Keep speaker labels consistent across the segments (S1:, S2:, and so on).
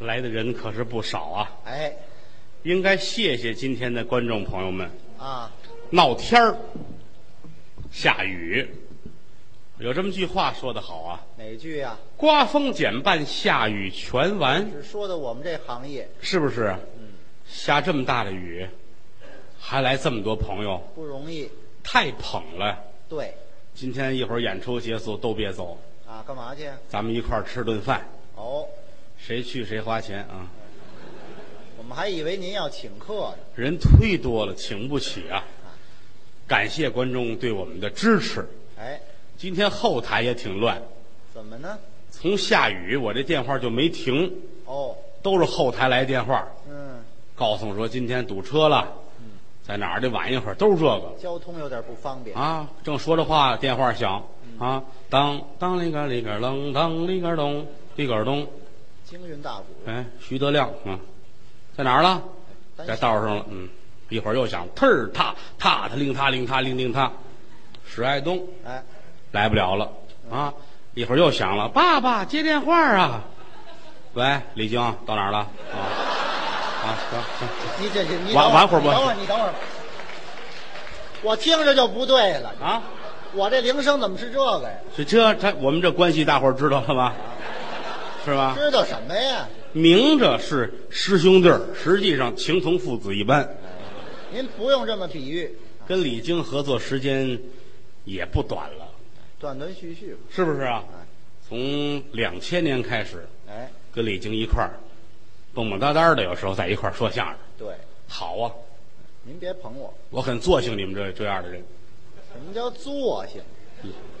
S1: 来的人可是不少啊，
S2: 哎，
S1: 应该谢谢今天的观众朋友们。
S2: 啊，
S1: 闹天儿，下雨，有这么句话说得好啊：
S2: 哪句呀、
S1: 刮风减半，下雨全完，
S2: 只说的我们这行业
S1: 是不是？下这么大的雨，还来这么多朋友，
S2: 不容易。
S1: 太捧了。
S2: 对，
S1: 今天一会儿演出结束都别走，
S2: 啊，干嘛去？
S1: 咱们一块儿吃顿饭，
S2: 哦，
S1: 谁去谁花钱啊？
S2: 我们还以为您要请客呢。
S1: 人忒多了，请不起啊！感谢观众对我们的支持。
S2: 哎，
S1: 今天后台也挺乱，
S2: 怎么呢？
S1: 从下雨我这电话就没停，
S2: 哦，
S1: 都是后台来电话，
S2: 嗯，
S1: 告诉我说今天堵车了，在哪儿得晚一会儿，都是这个
S2: 交通有点不方便。
S1: 啊。正说着话，电话响啊，当当里个里个啷，当里个咚，里个咚。
S2: 京韵大鼓，
S1: 哎，徐德亮啊，在哪儿了？
S2: 单
S1: 在
S2: 线
S1: 道上了。嗯，一会儿又响，特儿踏踏踏令他令他令令他，史爱东
S2: 哎，
S1: 来不了了啊！一会儿又响了，爸爸接电话啊！喂，李菁到哪儿了？啊啊，行行，
S2: 你这这你
S1: 晚
S2: 等
S1: 晚会儿吧
S2: 你等会儿，你等会儿。我听着就不对了，
S1: 啊，
S2: 我这铃声怎么是这个呀？
S1: 这这这，我们这关系大伙儿知道了吧？是吧？
S2: 知道什么呀？
S1: 明着是师兄弟儿，实际上情同父子一般。
S2: 您不用这么比喻，
S1: 跟李菁合作时间也不短了。
S2: 断断续续吧。
S1: 是不是啊
S2: 哎？
S1: 从两千年开始，
S2: 哎，
S1: 跟李菁一块儿，蹦蹦哒哒的，有时候在一块儿说相声，
S2: 对，
S1: 好啊！
S2: 您别捧我。
S1: 我很作兴你们这这样的人，
S2: 什么叫作性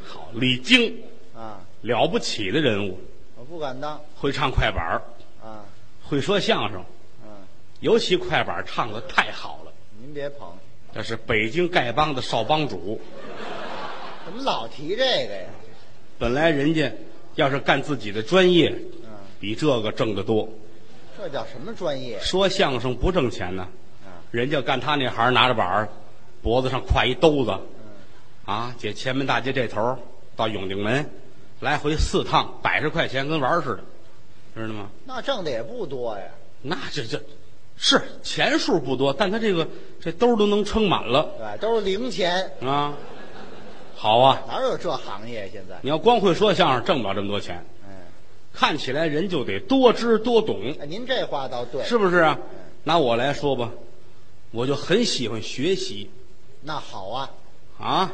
S1: 好，李菁
S2: 啊？
S1: 了不起的人物，
S2: 我不敢当
S1: 会唱快板儿，
S2: 啊，
S1: 会说相声，
S2: 嗯，
S1: 尤其快板儿唱的太好了。
S2: 您别捧，
S1: 这是北京丐帮的少帮主，
S2: 怎么老提这个呀？
S1: 本来人家要是干自己的专业，
S2: 嗯，
S1: 比这个挣得多。
S2: 这叫什么专业
S1: 说相声不挣钱呢，
S2: 啊？
S1: 人家干他那行，拿着板儿，脖子上挎一兜子，啊，姐前门大街这头儿到永定门，来回四趟，百十块钱跟玩儿似的，知道吗？
S2: 那挣的也不多呀。
S1: 那这这，是钱数不多，但他这个这兜儿都能撑满了
S2: 对，都是零钱，
S1: 啊。好啊，
S2: 哪有这行业现在？
S1: 你要光会说相声，挣不了这么多钱。
S2: 嗯，
S1: 看起来人就得多知多懂，
S2: 哎，您这话倒对，
S1: 是不是啊？拿我来说吧，我就很喜欢学习
S2: 那好啊，
S1: 啊，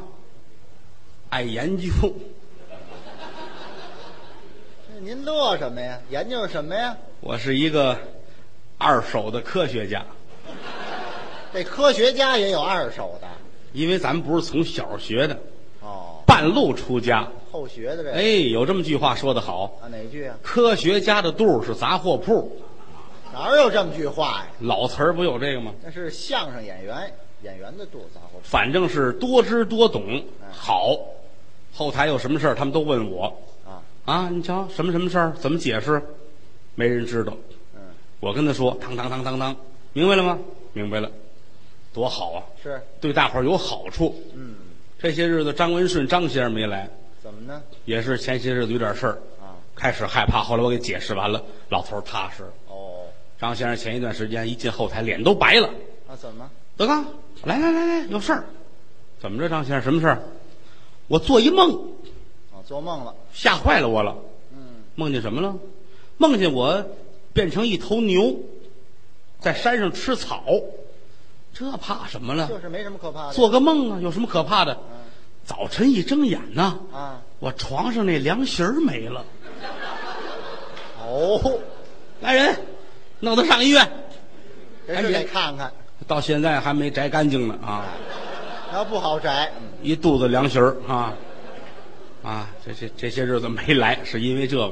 S1: 爱研究。
S2: 这您乐什么呀？研究什么呀？
S1: 我是一个二手的科学家，
S2: 这科学家也有二手的
S1: 因为咱们不是从小学的，
S2: 哦，
S1: 半路出家。
S2: 后学的这
S1: 哎，有这么句话说得好：
S2: 啊哪句啊？
S1: 科学家的肚儿是杂货铺。
S2: 哪有这么句话呀？
S1: 老词儿不有这个吗？
S2: 那是相声演员演员的肚子啊，我
S1: 反正是多知多懂，好。后台有什么事儿，他们都问我
S2: 啊，
S1: 啊。你瞧什么什么事儿，怎么解释？没人知道。
S2: 嗯，
S1: 我跟他说，当当当当当，明白了吗？明白了，多好啊！
S2: 是，
S1: 对大伙儿有好处。
S2: 嗯，
S1: 这些日子张文顺张先生没来，
S2: 怎么呢？
S1: 也是前些日子有点事儿，
S2: 啊，
S1: 开始害怕，后来我给解释完了，老头儿踏实。
S2: 哦，
S1: 张先生前一段时间一进后台，脸都白了。
S2: 啊，怎么？
S1: 德刚，来来来来，有事儿。怎么着，张先生？什么事儿？我做一梦，
S2: 啊，做梦了。
S1: 吓坏了我了。
S2: 嗯，
S1: 梦见什么了？梦见我变成一头牛，在山上吃草。这怕什么
S2: 就
S1: 了？
S2: 是没什么可怕的。
S1: 做个梦啊，有什么可怕的？早晨一睁眼呐，
S2: 啊，
S1: 我床上那凉席儿没了。
S2: 哦，
S1: 来人，弄他上医院。哎
S2: 这是得看看，
S1: 到现在还没摘干净呢啊！
S2: 要不好摘。嗯
S1: 一肚子凉席儿啊啊！这这这些日子没来，是因为这个。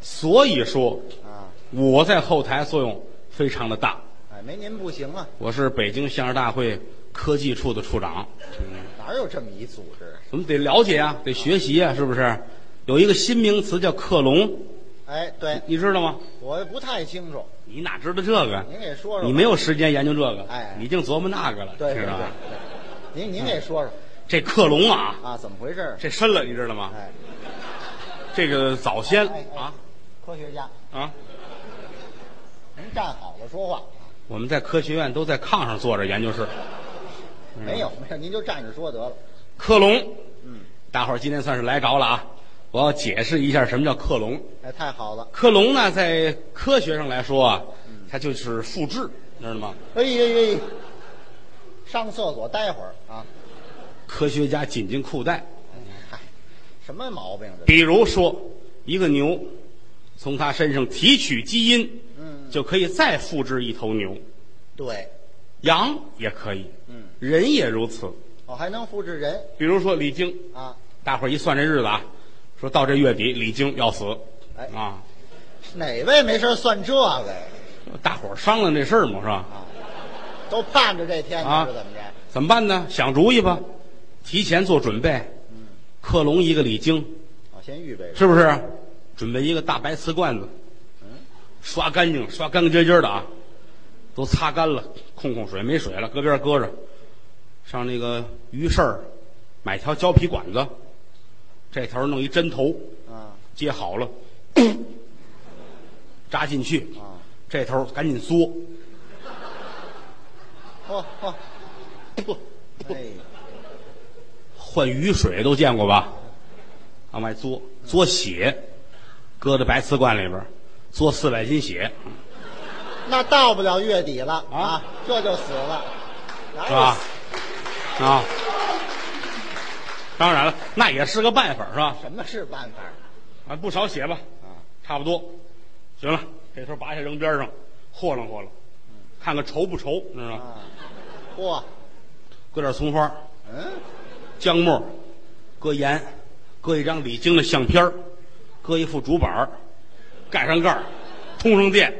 S1: 所以说，
S2: 啊，
S1: 我在后台作用非常的大。
S2: 哎，没您不行啊，
S1: 我是北京相声大会科技处的处长，
S2: 哪有这么一组织？
S1: 我们得了解啊，得学习啊，是不是？有一个新名词叫克隆，
S2: 哎，对
S1: 你知道吗？
S2: 我不太清楚，
S1: 你哪知道这个？
S2: 您给说说吧。
S1: 你没有啊时间研究这个，
S2: 哎
S1: 你净琢磨那个了，
S2: 对对
S1: 知
S2: 对
S1: 道吧？
S2: 对您您给说说
S1: 这克隆啊，
S2: 啊，怎么回事？
S1: 这深了，你知道吗？
S2: 哎，
S1: 这个早先
S2: 哎哎
S1: 啊，
S2: 科学家，
S1: 啊！
S2: 您站好了说话。
S1: 我们在科学院都在炕上坐着，研究室。嗯
S2: 没有没有，您就站着说得了。
S1: 克隆，
S2: 嗯，
S1: 大伙儿今天算是来着了啊！我要解释一下什么叫克隆。
S2: 哎，太好了。
S1: 克隆呢，在科学上来说啊，它就是复制，知道吗？
S2: 哎呀呀，上厕所待会儿啊。
S1: 科学家紧紧裤带。
S2: 嗨，什么毛病这？
S1: 比如说，一个牛，从它身上提取基因，
S2: 嗯
S1: 就可以再复制一头牛。
S2: 对，
S1: 羊也可以，
S2: 嗯，
S1: 人也如此。
S2: 我、哦还能复制人
S1: 比如说李菁，
S2: 啊？
S1: 大伙儿一算这日子啊，说到这月底李菁要死，
S2: 哎
S1: 啊，
S2: 哪位没事算这个呀？
S1: 大伙儿商量这事儿嘛，是吧？
S2: 都盼着这天
S1: 啊
S2: 呢，是怎么着？
S1: 怎么办呢？想主意吧，提前做准备，克隆一个李菁，
S2: 我哦先预备着。
S1: 是不是？准备一个大白瓷罐子，刷干净，刷干干净净的啊，都擦干了，控控水，没水了，搁边儿搁着。上那个鱼市儿买条胶皮管子，这头儿弄一针头，
S2: 啊
S1: 接好了，扎进去，
S2: 啊！
S1: 这头儿赶紧缩，
S2: 嚯嚯！
S1: 不
S2: 哦哎，
S1: 换雨水都见过吧？往外嘬嘬血，搁在白瓷罐里边儿嘬四百斤血，
S2: 那到不了月底了
S1: 啊
S2: 啊，这就死了，哪
S1: 是吧
S2: 有死？哎
S1: 啊，当然了，那也是个办法，是吧？
S2: 什么是办法
S1: 啊，不少血吧，
S2: 啊？
S1: 差不多，行了，这头拔下扔边上，和楞和楞，看看稠不稠，你知道吗？
S2: 嗯啊，嚯，
S1: 搁点葱花，
S2: 嗯，
S1: 姜末，搁盐，搁一张李菁的相片儿搁一副竹板儿盖上盖儿通上电，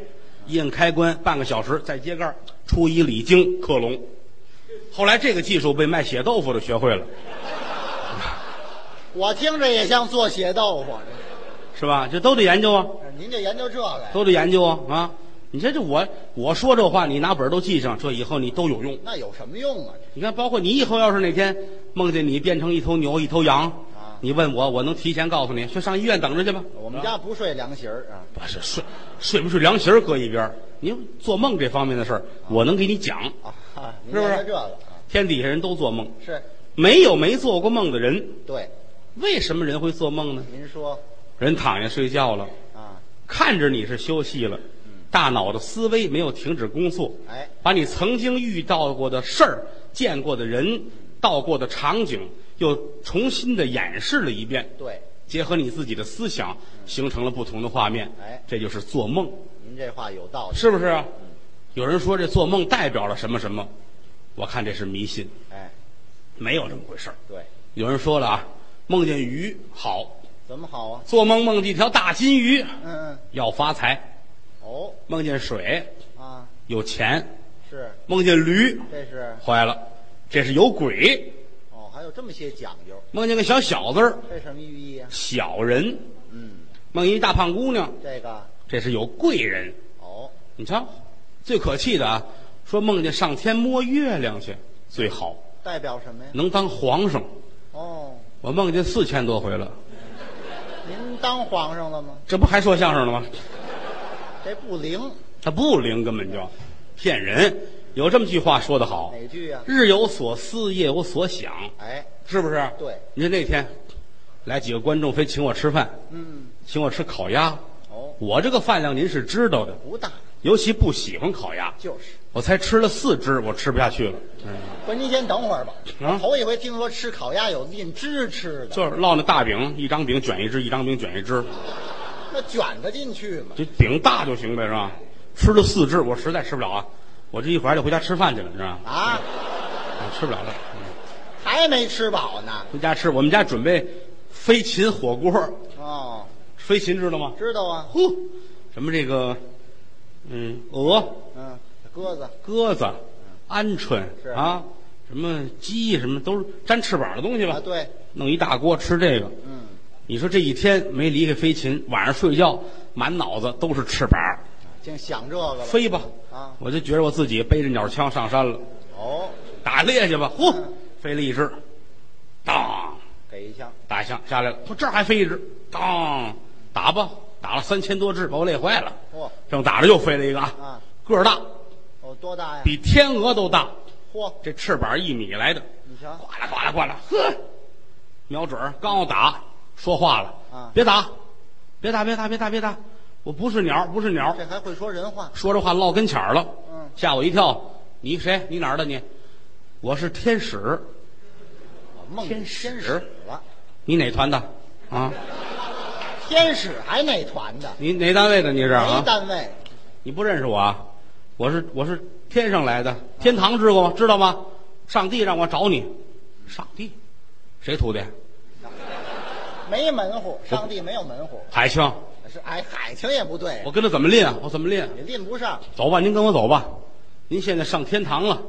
S1: 一摁开关，半个小时再揭盖儿出一李菁克隆。后来这个技术被卖血豆腐的学会了，
S2: 我听着也像做血豆腐。
S1: 是吧？这都得研究啊，
S2: 这您就研究这个呀？
S1: 都得研究啊啊！你这这我我说这话，你拿本儿都记上，这以后你都有用。
S2: 那有什么用啊？
S1: 你看，包括你以后要是哪天梦见你变成一头牛、一头羊
S2: 啊，
S1: 你问我，我能提前告诉你，去上医院等着去吧。
S2: 我们家不睡凉席儿啊，
S1: 不是睡睡不睡凉席儿搁一边儿，你做梦这方面的事儿，我能给你讲。
S2: 啊，哈您
S1: 是不是
S2: 研究这个啊？
S1: 天底下人都做梦，
S2: 是，
S1: 没有没做过梦的人。
S2: 对，
S1: 为什么人会做梦呢？
S2: 您说
S1: 人躺下睡觉了，
S2: 啊，
S1: 看着你是休息了，大脑的思维没有停止工作，
S2: 哎，
S1: 把你曾经遇到过的事儿、见过的人、到过的场景，又重新的演示了一遍，
S2: 对，
S1: 结合你自己的思想，形成了不同的画面。
S2: 哎
S1: 这就是做梦。
S2: 您这话有道理。
S1: 是不是啊？有人说这做梦代表了什么什么，我看这是迷信，
S2: 哎，
S1: 没有这么回事儿。
S2: 对，
S1: 有人说了啊，梦见鱼好，
S2: 怎么好啊？
S1: 做梦梦见一条大金鱼，
S2: 嗯嗯，
S1: 要发财；
S2: 哦，
S1: 梦见水
S2: 啊，
S1: 有钱，
S2: 是，
S1: 梦见驴
S2: 这是，
S1: 坏了，这是有鬼；
S2: 哦，还有这么些讲究，
S1: 梦见个小小子儿
S2: 这什么寓意啊？
S1: 小人，
S2: 嗯，
S1: 梦见一大胖姑娘，
S2: 这个，
S1: 这是有贵人。
S2: 哦，
S1: 你瞧，最可气的啊，说梦见上天摸月亮去最好，
S2: 代表什么呀？
S1: 能当皇上。
S2: 哦，
S1: 我梦见四千多回了，
S2: 您当皇上了吗？
S1: 这不还说相声呢吗？
S2: 这不灵，
S1: 他不灵，根本就骗人。有这么句话说得好
S2: 哪句呀、：“
S1: 日有所思，夜有所想”，
S2: 哎，
S1: 是不是？
S2: 对。
S1: 你说那天来几个观众非请我吃饭，
S2: 嗯，
S1: 请我吃烤鸭，
S2: 哦，
S1: 我这个饭量您是知道的，
S2: 不大，
S1: 尤其不喜欢烤鸭，
S2: 就是。
S1: 我才吃了四只，我吃不下去了。
S2: 不是，您先等会儿吧。
S1: 啊
S2: 头一回听说吃烤鸭有印汁吃的，
S1: 就是烙那大饼，一张饼卷一只，一张饼卷一只，
S2: 那卷得进去吗？
S1: 这饼大就行呗，是吧？吃了四只，我实在吃不了啊！我这一会儿还得回家吃饭去了，你知道吗？
S2: 啊，
S1: 啊，吃不了了。
S2: 还没吃饱呢。
S1: 回家吃，我们家准备飞禽火锅。
S2: 哦，
S1: 飞禽知道吗？
S2: 知道啊。
S1: 呼，什么这个，嗯，鹅、
S2: 嗯，鸽子
S1: 鸽子、鹌鹑
S2: 是
S1: 啊，什么鸡，什么都是沾翅膀的东西吧
S2: 啊，？对，
S1: 弄一大锅吃这个。
S2: 嗯，
S1: 你说这一天没离开飞禽，晚上睡觉满脑子都是翅膀，
S2: 净想这个了。
S1: 飞吧！
S2: 啊，
S1: 我就觉得我自己背着鸟枪上山了，
S2: 哦，
S1: 打猎去吧。呼
S2: 嗯，
S1: 飞了一只，当。
S2: 给一枪，
S1: 打一枪下来了，说这儿还飞一只，当打吧，打了三千多只，把我累坏了。
S2: 嚯
S1: 正打着又飞了一个啊，
S2: 啊，
S1: 个儿大，
S2: 哦，多大呀？
S1: 比天鹅都大，
S2: 嚯，
S1: 这翅膀一米来的，
S2: 你瞧，
S1: 呱啦呱啦呱啦，呵，瞄准儿刚要打，说话了，
S2: 啊
S1: 别打，别打，别打，别打，别打，我不是鸟，不是鸟，
S2: 这还会说人话。
S1: 说这话落跟前儿了，
S2: 嗯
S1: 吓我一跳，你谁？你哪儿的你？我是天使，
S2: 我梦
S1: 天
S2: 见天
S1: 使
S2: 使了，
S1: 你哪团的？啊，
S2: 天使还哪团的？
S1: 你哪单位的？你是
S2: 没
S1: 啊？
S2: 单位，
S1: 你不认识我啊？我是我是天上来的，天堂知道吗？知道吗？上帝让我找你，上帝，谁徒弟？
S2: 没门户，上帝没有门户。
S1: 海清，
S2: 是哎，海清也不对
S1: 我，跟他怎么练啊？我怎么练？
S2: 也拎不上。
S1: 走吧，您跟我走吧。您现在上天堂了，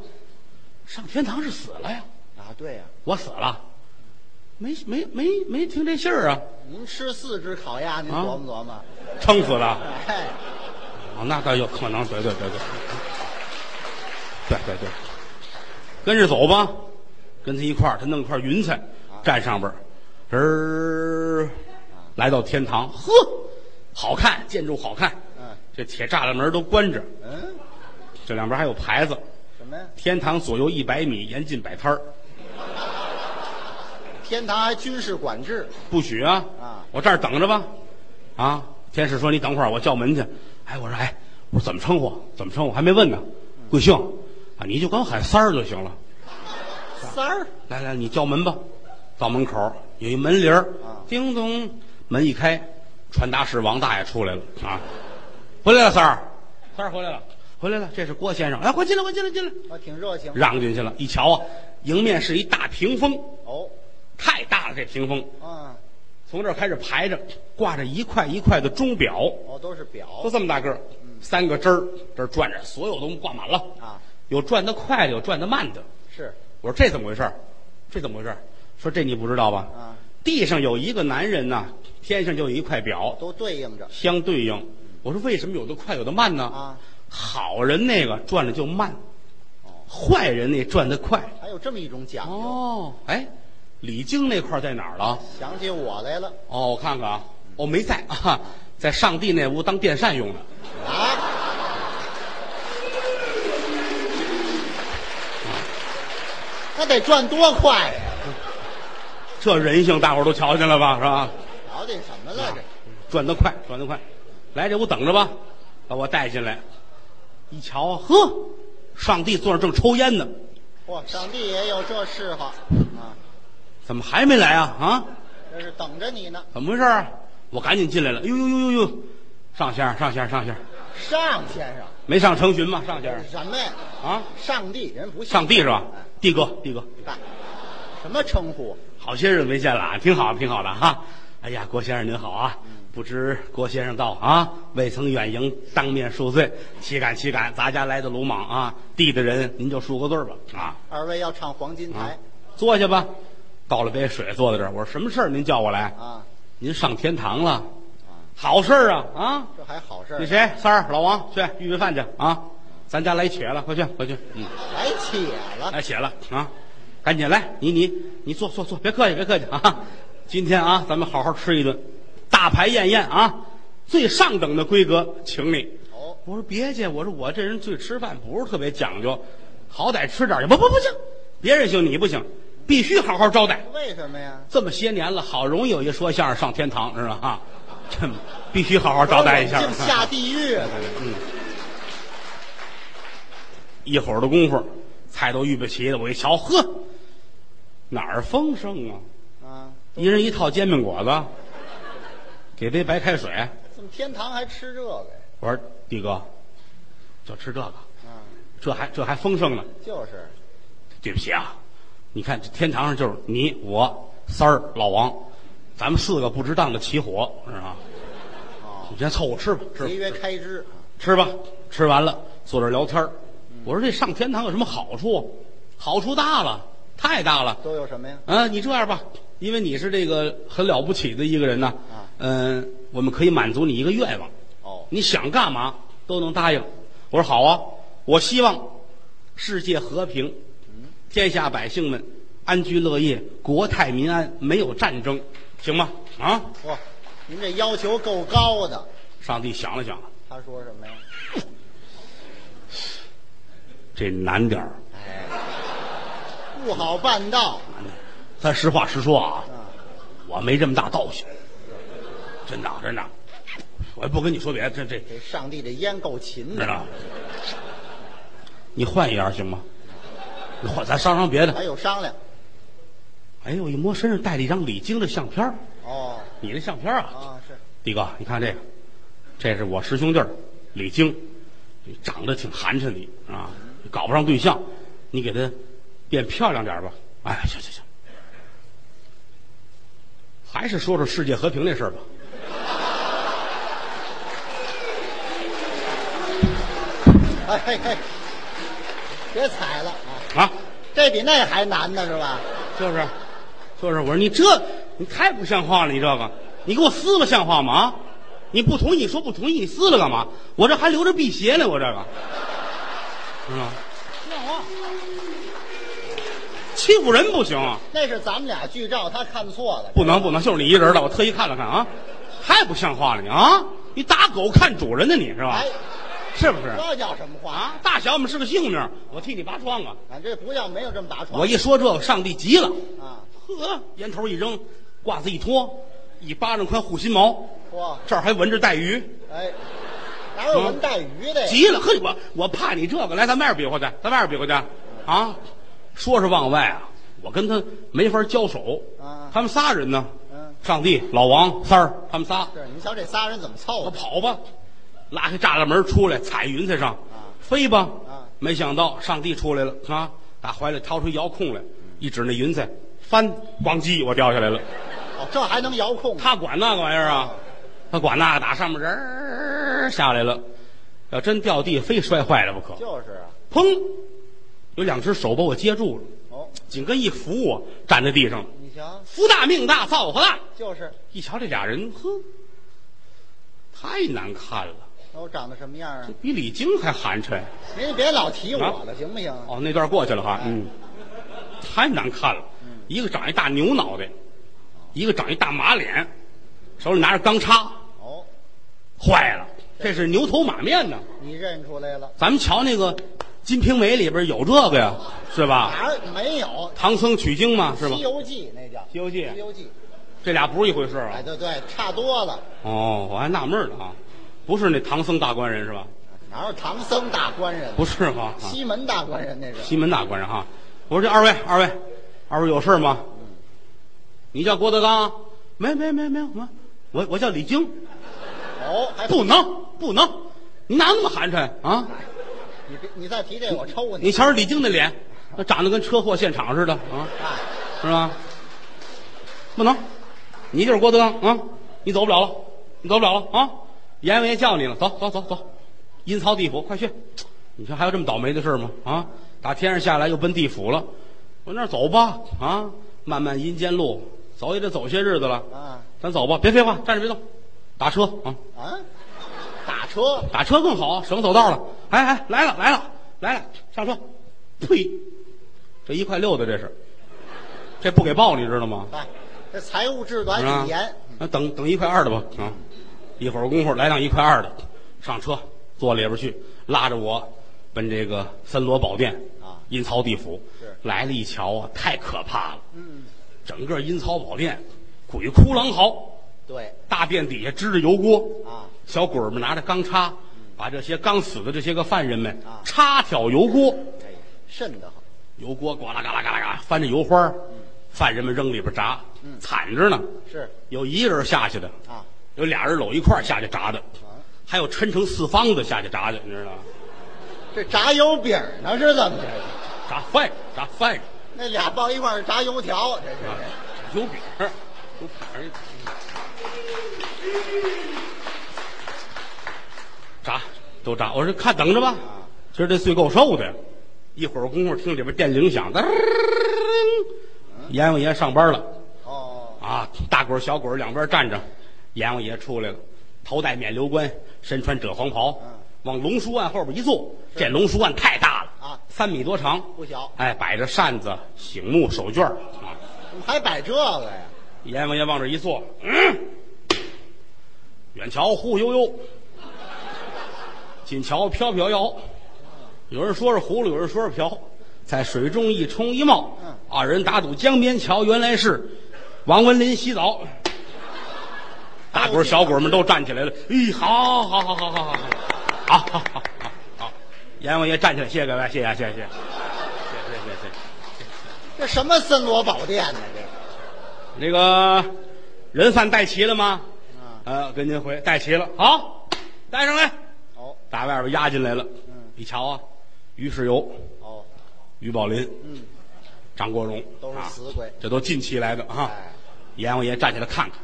S1: 上天堂是死了呀，
S2: 啊，对呀、
S1: 我死了，没没没没听这信儿啊，
S2: 您吃四只烤鸭，您
S1: 啊
S2: 琢磨琢磨。
S1: 撑死了。
S2: 哎，
S1: 哦，那倒有可能，对对对对，对对对，跟着走吧，跟他一块儿，他弄块云彩站上边儿，人儿来到天堂，呵，好看，建筑好看，
S2: 嗯
S1: 这铁栅栏门儿都关着，
S2: 嗯，
S1: 这两边还有牌子，
S2: 什么呀？
S1: 天堂左右一百米严禁摆摊儿，
S2: 天堂还军事管制，
S1: 不许啊！
S2: 啊
S1: 我这儿等着吧。啊，天使说你等会儿，我叫门去。哎，我说哎，我说怎么称呼？怎么称呼？还没问呢。
S2: 嗯
S1: 贵姓？啊，你就管我喊三儿就行了。
S2: 三儿
S1: 来来，你叫门吧。到门口有一门铃儿
S2: 啊，
S1: 叮咚，门一开，传达室王大爷出来了啊，回来了，三儿，三儿回来了，回来了，这是郭先生，哎，快进来，快进来，进来，
S2: 我挺热情。
S1: 让进去了。一瞧啊，迎面是一大屏风，
S2: 哦，
S1: 太大了，这屏风，
S2: 啊，
S1: 从这儿开始排着，挂着一块一块的钟表，
S2: 哦，都是
S1: 都
S2: 表
S1: 这么大个儿，三个针儿，这儿转着，所有都挂满了，
S2: 啊，
S1: 有转得快的，有转得慢的。
S2: 是
S1: 我说这怎么回事儿？这怎么回事儿？说这你不知道吧？
S2: 啊，
S1: 地上有一个男人呐，天上就有一块表，
S2: 都对应着
S1: 相对应。我说为什么有的快，有的慢呢？
S2: 啊。
S1: 好人那个转的就慢
S2: 哦，
S1: 坏人那转的快。
S2: 还有这么一种讲究，
S1: 哦，哎，李菁那块儿在哪儿了？
S2: 想起我来了
S1: 哦，我看看啊，哦，没在 啊，在上帝那屋当电扇用的。
S2: 啊，那得转多快呀！
S1: 这人性，大伙儿都瞧见了吧？是吧？
S2: 瞧见什么了这？
S1: 转得快，转得快，来这屋等着吧，把我带进来。一瞧，呵，上帝坐那儿正抽烟呢，
S2: 嚯，上帝也有这嗜好啊！
S1: 怎么还没来啊？啊，
S2: 这是等着你呢，
S1: 怎么回事啊？我赶紧进来了，哎呦呦呦呦呦，上仙儿，上仙儿，上仙儿，
S2: 上先生，
S1: 没上成群吗？上仙
S2: 这
S1: 儿
S2: 是什么呀？
S1: 啊，
S2: 上帝人不信
S1: 上帝是吧？帝哥，帝哥，
S2: 哎什么称呼？
S1: 好些日子没见了啊，挺好，挺好的哈、哎呀，郭先生您好啊！不知郭先生到啊，未曾远迎，当面恕罪，岂敢岂敢！咱家来的鲁莽啊，地的人您就恕个罪吧啊！
S2: 二位要唱黄金
S1: 啊
S2: 台，
S1: 坐下吧。倒了杯水，坐在这儿。我说什么事儿？您叫我来？
S2: 啊？
S1: 您上天堂了
S2: 啊？
S1: 好事儿啊啊！
S2: 这还好事儿
S1: 那，谁，三儿、老王去预备饭去啊！咱家来且了，快去，快去，嗯，
S2: 来且了，
S1: 来且了啊！赶紧来，你你你坐坐坐，别客气，别客气啊！今天啊，咱们好好吃一顿，大排宴宴啊，最上等的规格，请你。
S2: 哦，
S1: 我说别介，我说我这人对吃饭不是特别讲究，好歹吃点儿去。不不不行，别人行你不行，必须好好招待。
S2: 为什么呀？
S1: 这么些年了，好容易有一说相声上天堂，知道吗？这必须好好招待一下。嗯
S2: 净下地狱了，
S1: 一会儿的功夫，菜都预备齐了。我一瞧，呵，哪儿丰盛啊！
S2: 啊！
S1: 一人一套煎饼果子，给杯白开水。
S2: 怎么天堂还吃这个呀？
S1: 我说弟哥，就吃这个，
S2: 啊，
S1: 这还这还丰盛呢。
S2: 就是
S1: 对不起啊，你看这天堂上就是你我三儿老王，咱们四个不值当的起火，是吧？
S2: 哦，哎
S1: 你先凑合吃吧，吃吧
S2: 节约开支，啊
S1: 吃吧，吃完了坐这儿聊天儿我说这上天堂有什么好处？好处大了，太大了。
S2: 都有什么呀？
S1: 啊，你这样吧，因为你是这个很了不起的一个人呐，
S2: 啊
S1: 嗯、我们可以满足你一个愿望，
S2: 哦，
S1: 你想干嘛都能答应。我说好啊，我希望世界和平，天下百姓们安居乐业，国泰民安，没有战争，行吗？啊，
S2: 哇，您这要求够高的。
S1: 上帝想了想，
S2: 他说什么呀？
S1: 这难点儿，
S2: 不好办到
S1: 难点儿。咱实话实说啊，
S2: 啊！
S1: 我没这么大道行，真的啊真的，我也不跟你说别的，这这
S2: 这上帝这烟够勤
S1: 知
S2: 的，
S1: 道？你换一样行吗？你换，咱商量别的。
S2: 还有商量
S1: 哎呦，一摸身上带了一张李菁的相片儿
S2: 哦
S1: 你的相片儿啊，
S2: 啊是
S1: 弟哥，你看这个，这是我师兄弟儿李菁，长得挺寒碜你啊，搞不上对象，你给他变漂亮点儿吧。哎，行行行，还是说说世界和平那事儿吧。
S2: 哎嘿嘿，别踩了啊！
S1: 啊，
S2: 这比那还难呢是吧？
S1: 就是，就是，我说你这你太不像话了，你这个，你给我撕了像话吗？啊，你不同意，你说不同意，你撕了干嘛？我这还留着辟邪呢，我这个，是吧？
S2: 像话，
S1: 欺负人不行啊！
S2: 那是咱们俩剧照，他看错了。
S1: 不能不能，就是你一人了，我特意看了看啊，太不像话了你啊！你打狗看主人呢你是吧
S2: 哎？，
S1: 是不是？
S2: 这叫什么话？
S1: 啊，大小我们是个性命，我替你拔窗啊！
S2: 俺这不要没有这么打
S1: 我
S2: 床
S1: 一说这个，上帝急了，
S2: 啊！
S1: 呵，烟头一扔，褂子一脱，一巴掌宽护心毛，
S2: 嚯，
S1: 这儿还闻着带鱼，
S2: 哎，哪有闻带鱼的呀？
S1: 急了，嘿，我我怕你这个，来，咱外边比划去，咱外边比划去，啊，说是往外啊，我跟他没法交手，
S2: 啊
S1: 他们仨人呢，
S2: 嗯，
S1: 上帝、老王、三儿，他们仨，
S2: 是，你瞧这仨人怎么凑
S1: 我
S2: 的？
S1: 跑吧，拉开栅栏门出来，踩云彩上，飞吧，
S2: 啊
S1: 没想到上帝出来了啊，打怀里掏出遥控
S2: 嗯
S1: 来，一指那云彩，翻，咣叽，我掉下 来了。
S2: 哦，这还能遥控？
S1: 他管那个玩意儿啊，他管那个打上面人儿下来了，要真掉地，非摔坏了不可。
S2: 就是啊，
S1: 砰，有两只手把我接住了，
S2: 哦，
S1: 紧跟一扶我站在地上了。
S2: 你瞧，
S1: 福大命大，造化大！
S2: 就是，
S1: 一瞧这俩人，哼，太难看了，
S2: 那我长得什么样 啊？
S1: 比李菁还寒碜。啊
S2: 您别老提我了，行不啊行？
S1: 哦，那段过去了哈，嗯，太难看了，一个长一大牛脑袋，一个长一大马脸，手里拿着钢叉，
S2: 哦，
S1: 坏了，这是牛头马面呢。
S2: 你认出来了？
S1: 咱们瞧那个《金瓶梅》里边有这个呀，是吧？
S2: 哪儿没有？
S1: 唐僧取经嘛，是
S2: 《
S1: 吧
S2: 西？游记》那叫《
S1: 西游记
S2: 西游记》。
S1: 这俩不是一回事儿啊
S2: 哎，。对对，差多了。
S1: 哦，我还纳闷呢啊，不是那唐僧大官人是吧？
S2: 哪有唐僧大官人？
S1: 不是吧？啊
S2: 西门大官人那是。
S1: 西门大官人哈，我说这二位，二位，二位有事吗？你叫郭德纲啊？没没没没有没有，我我叫李菁。
S2: 哦，还
S1: 不能不能，你哪那么寒碜啊？
S2: 你别你再提这我抽
S1: 你
S2: 你。
S1: 瞧瞧李菁那脸，那长得跟车祸现场似的啊，
S2: 哎，
S1: 是吧？不能，你就是郭德纲啊，你走不了了，你走不了了啊！阎王爷叫你了，走走走走，阴曹地府，快去！你说还有这么倒霉的事儿吗？啊，打天上下来又奔地府了，往那儿走吧啊！漫漫阴间路，走也得走些日子了，
S2: 啊
S1: 咱走吧，别废话，站着别动，打车啊！
S2: 啊，打车
S1: 打车更好，啊省走道了。哎哎，来了来了来了，上车！呸，这一块六的这是，这不给报你知道吗？
S2: 哎，这财务制度还
S1: 是啊吧
S2: 挺严。
S1: 那等等一块二的吧啊，一会儿功夫来辆一块二的，上车坐里边去，拉着我奔这个森罗宝殿
S2: 啊
S1: 阴曹地府
S2: 是。
S1: 来了一瞧啊，太可怕了，
S2: 嗯，
S1: 整个阴曹宝殿鬼哭狼嚎，
S2: 对
S1: 大殿底下支着油锅
S2: 啊，嗯
S1: 小鬼儿们拿着钢叉，把这些刚死的这些个犯人们
S2: 啊
S1: 叉挑油锅，
S2: 哎呀，瘆得很。
S1: 油锅呱啦嘎啦嘎啦嘎啦翻着油花儿，犯人们扔里边炸，惨着呢。
S2: 嗯是
S1: 有一个人下去的，
S2: 啊，
S1: 有俩人搂一块儿下去炸的，还有抻成四方的下去炸的，你知道吗？
S2: 这炸油饼呢是怎么着？
S1: 炸饭人，炸饭人，
S2: 那俩抱一块儿炸油条，这是。
S1: 油饼儿，油饼儿，炸都炸。我说看等着吧，今儿这岁够瘦的呀。一会儿功夫听里边电铃响，噔，阎王爷上班了
S2: 哦，
S1: 啊！大鬼儿小鬼儿两边站着，阎王爷出来了，头戴冕旒冠，身穿赭黄袍
S2: 嗯，
S1: 往龙书案后边一坐。这龙书案太大了
S2: 啊
S1: 三米多长，
S2: 不小
S1: 哎，摆着扇子、醒目、手绢儿啊。
S2: 怎么还摆这个呀？
S1: 阎王爷往这一坐，嗯，远瞧忽忽悠悠，近瞧飘飘摇。有人说是葫芦，有人说是瓢，在水中一冲一冒。
S2: 嗯
S1: 二人打赌江边桥原来是王文林洗澡。大鬼儿小鬼儿们都站起来了。咦，好好好好好好好，好好好好好。阎王爷站起来，谢谢各位，谢谢谢谢谢谢谢谢谢谢。
S2: 这什么森罗宝殿呢？这
S1: 那个人贩带齐了吗？
S2: 啊，
S1: 呃，跟您回带齐了，好，带上来。
S2: 哦
S1: 打外边押进来了，
S2: 嗯
S1: 一瞧啊，于世友、
S2: 哦，
S1: 于宝林、
S2: 嗯，
S1: 张国荣
S2: 都是
S1: 啊
S2: 死鬼
S1: 这都近期来的啊。
S2: 哎
S1: 阎王爷站起来看看，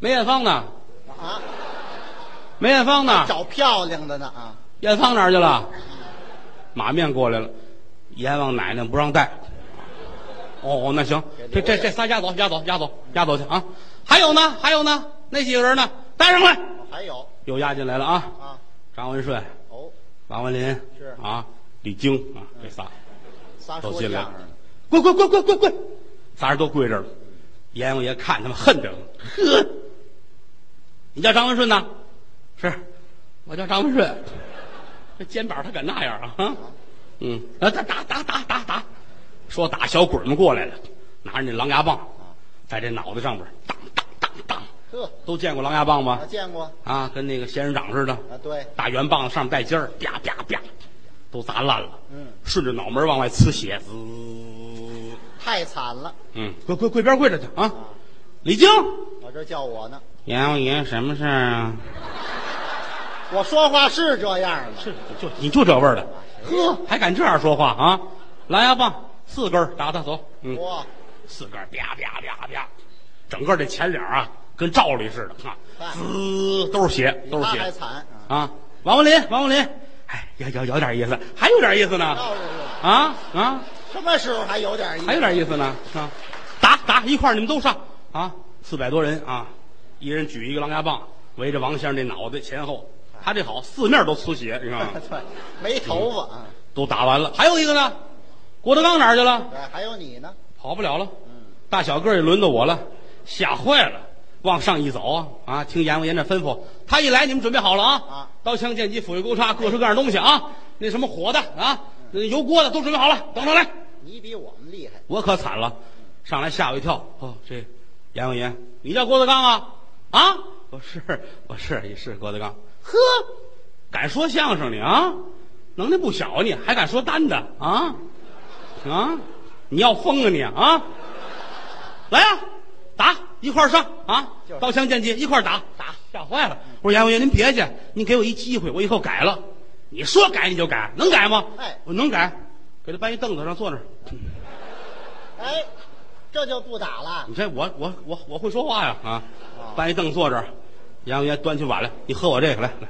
S1: 梅艳芳呢？
S2: 啊，
S1: 梅艳芳呢？
S2: 找漂亮的呢啊，
S1: 艳芳哪儿去了？马面过来了，阎王奶奶不让带。哦，那行，这这这仨押走，押走，押走，押走去啊！还有呢，还有呢，那几个人呢？带上来，
S2: 哦还有
S1: 又押进来了啊！
S2: 啊，
S1: 张文顺、
S2: 哦，
S1: 王文林
S2: 是
S1: 啊，李菁啊，这仨
S2: 仨
S1: 都
S2: 说
S1: 进来
S2: 相
S1: 了
S2: 声的，
S1: 跪跪跪跪跪跪，仨人都跪这儿了。阎王爷看他们恨着了，呵，你叫张文顺呐？是，我叫张文顺。这肩膀他敢那样啊？啊，嗯，啊，打打打打打打，说打小鬼儿们过来了，拿着那狼牙棒，在这脑袋上边儿当当当当，
S2: 呵，
S1: 都见过狼牙棒吗
S2: 我？见过
S1: 啊，跟那个仙人掌似的，
S2: 啊，对，
S1: 大圆棒子上面带尖儿，啪啪啪，都砸烂了。
S2: 嗯，
S1: 顺着脑门往外呲血，滋。
S2: 太惨了，
S1: 嗯，跪跪跪边跪着去啊！李菁，
S2: 我这叫我呢，
S1: 阎王爷什么事儿啊？
S2: 我说话是这样的，
S1: 是就你就这味儿的，呵，还敢这样说话啊？狼牙棒四根儿打他走，嗯，
S2: 哇，
S1: 四根儿啪啪啪啪，整个这前脸啊跟罩里似的啊，滋都是血，
S2: 比
S1: 都是
S2: 他还
S1: 血
S2: 惨啊，
S1: 啊！王文林，王文林，哎，有有有点意思，还有点意思呢，
S2: 倒是是
S1: 啊啊！
S2: 哦什么时候还有点意
S1: 还有
S2: 思？？
S1: 点意思呢啊！打打一块儿，你们都上啊！四百多人啊，一人举一个狼牙棒，围着王先生这脑袋前后。他这好，四面都出血，你看吗
S2: 对，没头发啊，
S1: 都打完了，还有一个呢。郭德纲哪儿去了？
S2: 对，还有你呢，
S1: 跑不了了。
S2: 嗯，
S1: 大小个儿也轮到我了，吓坏了。往上一走啊啊！听阎王爷那吩咐，他一来，你们准备好了啊！
S2: 啊
S1: 刀枪剑戟斧钺钩叉，各式各样的东西啊！那什么火的啊，那油锅的都准备好了，等着来。
S2: 你比我们厉害，
S1: 我可惨了，上来吓我一跳。哦，这阎王爷，你叫郭德纲啊？啊，我是我是也是郭德纲。呵，敢说相声你啊，能耐不小啊你，还敢说单的啊？啊，你要疯啊你啊！来呀、打一块儿上啊
S2: 就是！
S1: 刀枪剑戟一块儿打打，吓坏了。我说阎王爷您别去，您给我一机会，我以后改了。你说改你就改，能改吗？
S2: 哎
S1: 我能改，给他搬一凳子上坐那儿。
S2: 哎，这就不打了
S1: 你，这我我我我会说话呀啊
S2: 哦！
S1: 搬一凳坐这儿，阎王爷端起碗来，你喝我这个来来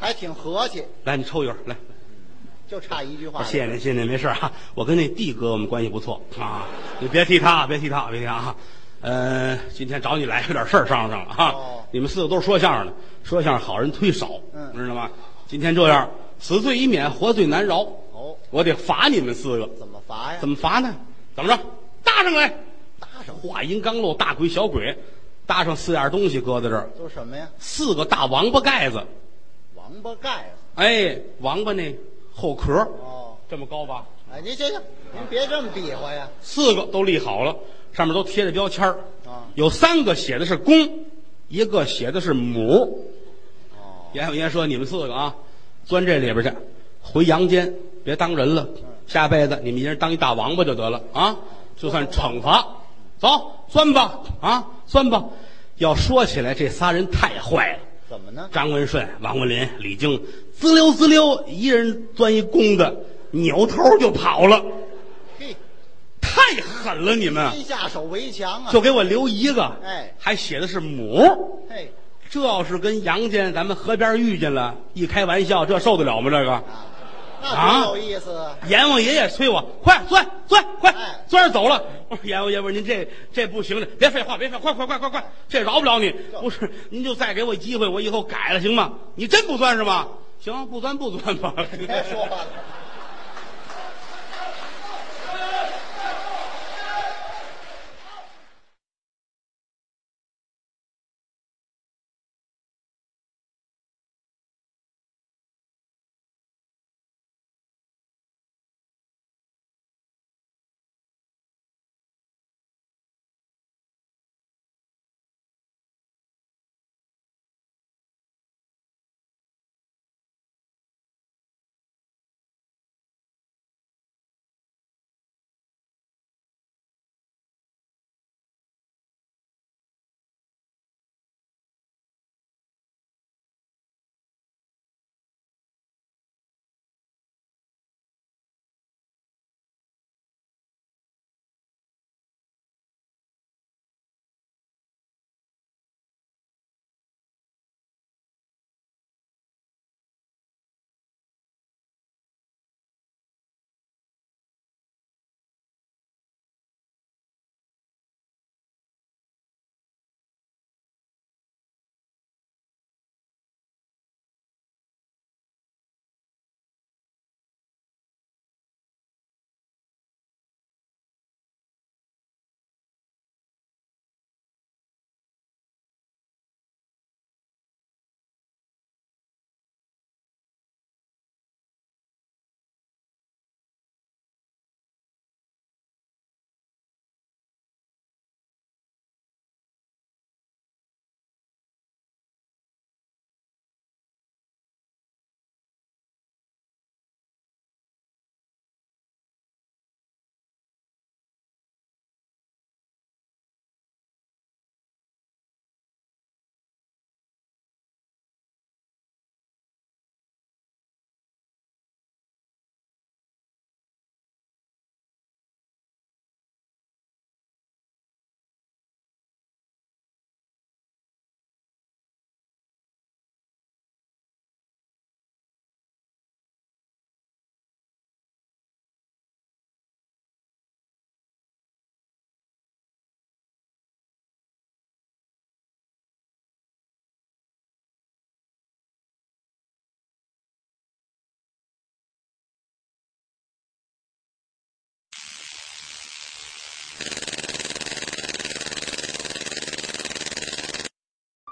S2: 还挺和气，
S1: 来，你抽一根来。
S2: 就差一句话
S1: 我
S2: 了，
S1: 谢谢您，谢谢您，没事啊。我跟那弟哥我们关系不错啊，你别提他，别提他，别提他啊。呃，今天找你来有点事儿商量商量啊。
S2: 哦
S1: 你们四个都是说相声的，说相声好人忒少，
S2: 嗯
S1: 知道吗？今天这样，死罪已免，活罪难饶。
S2: 哦，
S1: 我得罚你们四个，
S2: 怎么罚呀？
S1: 怎么罚呢？怎么着？搭上来。
S2: 搭上？
S1: 话音刚落，大鬼小鬼搭上四样东西搁在这儿，
S2: 都什么呀？
S1: 四个大王八盖子，
S2: 王八盖子。
S1: 哎，王八那后壳
S2: 哦，
S1: 这么高吧，
S2: 哎，您行行，您别这么比划呀。
S1: 四个都立好了，上面都贴着标签儿
S2: 啊
S1: 有三个写的是公，一个写的是母。
S2: 哦，
S1: 阎王爷说：“你们四个啊，钻这里边去，回阳间，别当人了。下辈子你们一人当一大王八就得了啊，就算惩罚。走，钻吧啊，钻吧。要说起来，这仨人太坏了。”
S2: 怎么呢？
S1: 张文顺、王文林、李菁，滋溜滋溜，一人钻一弓的，扭头就跑了，
S2: 嘿，
S1: 太狠了！你们
S2: 先下手为强啊。
S1: 就给我留一个，
S2: 哎
S1: 还写的是母。
S2: 嘿，
S1: 这要是跟杨坚咱们河边遇见了，一开玩笑，这受得了吗？这个
S2: 啊，
S1: 啊
S2: 那多有意思啊！
S1: 阎王爷也催我，快钻钻快
S2: 哎
S1: 钻着走了。我说阎王爷，我说您这这不行的，别废话，别废话，快快快快快，这饶不了你。不是，您就再给我机会，我以后改了行吗？你真不钻是吗？行，不钻不钻吧。
S2: 别说话了，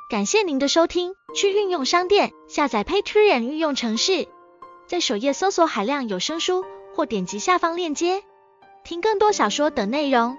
S3: 感谢您的收听，去运用商店下载 Patreon 运用城市，在首页搜索海量有声书，或点击下方链接听更多小说等内容。